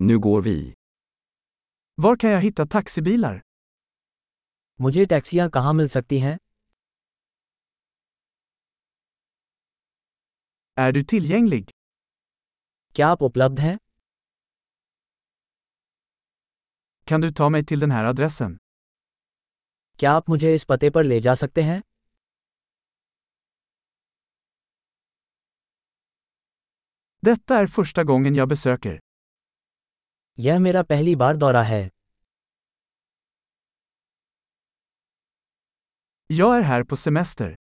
Nu går vi. Var kan jag hitta taxibilar? मुझे टैक्सियाँ कहाँ मिल सकती हैं Är du tillgänglig? क्या आप उपलब्ध हैं Kan du ta mig till den här adressen? क्या आप मुझे इस पते पर ले जा सकते हैं Detta är första gången jag besöker. यह मेरा पहली बार दौरा है Jag är här på semester.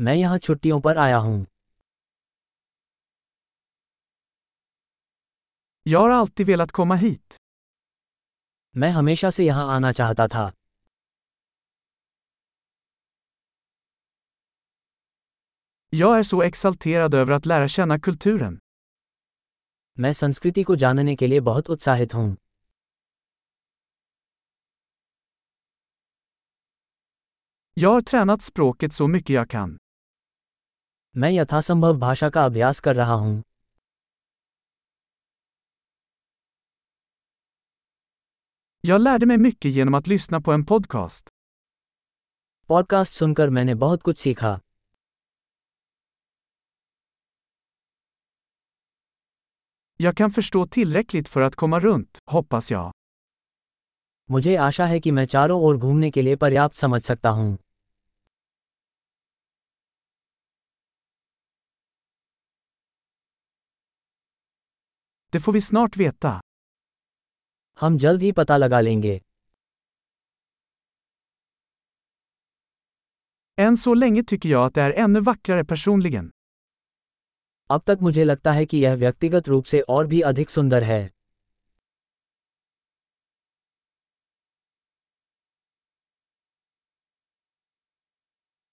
मैं यहाँ छुट्टियों पर आया हूँ Jag har alltid velat komma hit. मैं हमेशा से यहाँ आना चाहता था Jag är så exalterad över att lära känna kulturen. मैं संस्कृति को जानने के लिए बहुत उत्साहित हूँ Jag har tränat språket så mycket jag kan. मैं यथासंभव भाषा का अभ्यास कर रहा हूँ Jag lärde mig mycket genom att lyssna på en podcast. Podcast सुनकर मैंने बहुत कुछ सीखा Jag kan förstå tillräckligt för att komma runt, hoppas jag. मुझे आशा है कि मैं चारों ओर घूमने के लिए पर्याप्त समझ सकता हूँ Det får vi snart veta. हम जल्द ही पता लगा लेंगे Än så länge tycker jag att det är ännu vackrare personligen. अब तक मुझे लगता है कि यह व्यक्तिगत रूप से और भी अधिक सुंदर है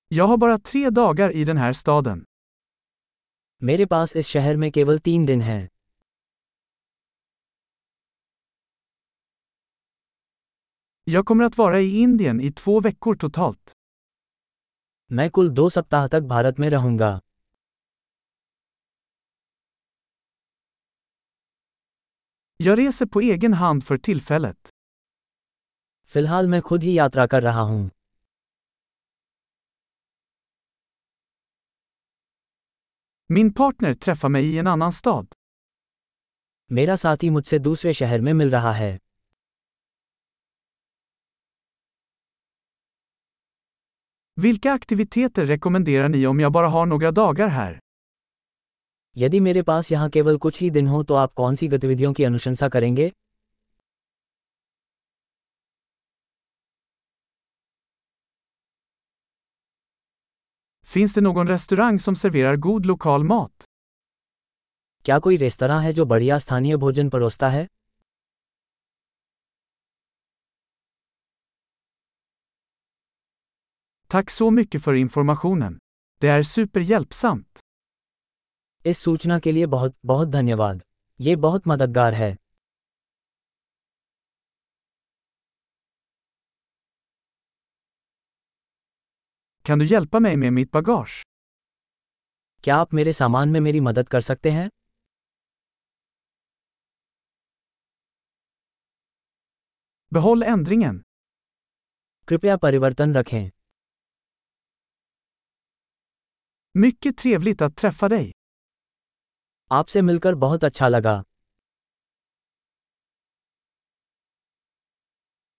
Jag har bara tre dagar i den här staden. मेरे पास इस शहर में केवल तीन दिन हैं Jag kommer att vara i Indien i två veckor totalt. मैं कुल दो सप्ताह तक भारत में रहूंगा Jag reser på egen hand för tillfället. फिलहाल मैं खुद ही यात्रा कर रहा हूँ Min partner träffar mig i en annan stad. मेरा साथी मुझसे दूसरे शहर में मिल रहा है Vilka aktiviteter rekommenderar ni om jag bara har några dagar här? यदि मेरे पास यहाँ केवल कुछ ही दिन हो तो आप कौन सी गतिविधियों की अनुशंसा करेंगे Finns det någon restaurang som serverar god lokal mat? क्या कोई रेस्तरा है जो बढ़िया स्थानीय भोजन परोसता है Tack så mycket för informationen. Det är superhjälpsamt. इस सूचना के लिए बहुत बहुत धन्यवाद ये बहुत मददगार है Kan du hjälpa mig med mitt bagage? क्या आप मेरे सामान में मेरी मदद कर सकते हैं Behåll ändringen. कृपया परिवर्तन रखें Mycket trevligt att träffa dig. आपसे मिलकर बहुत अच्छा लगा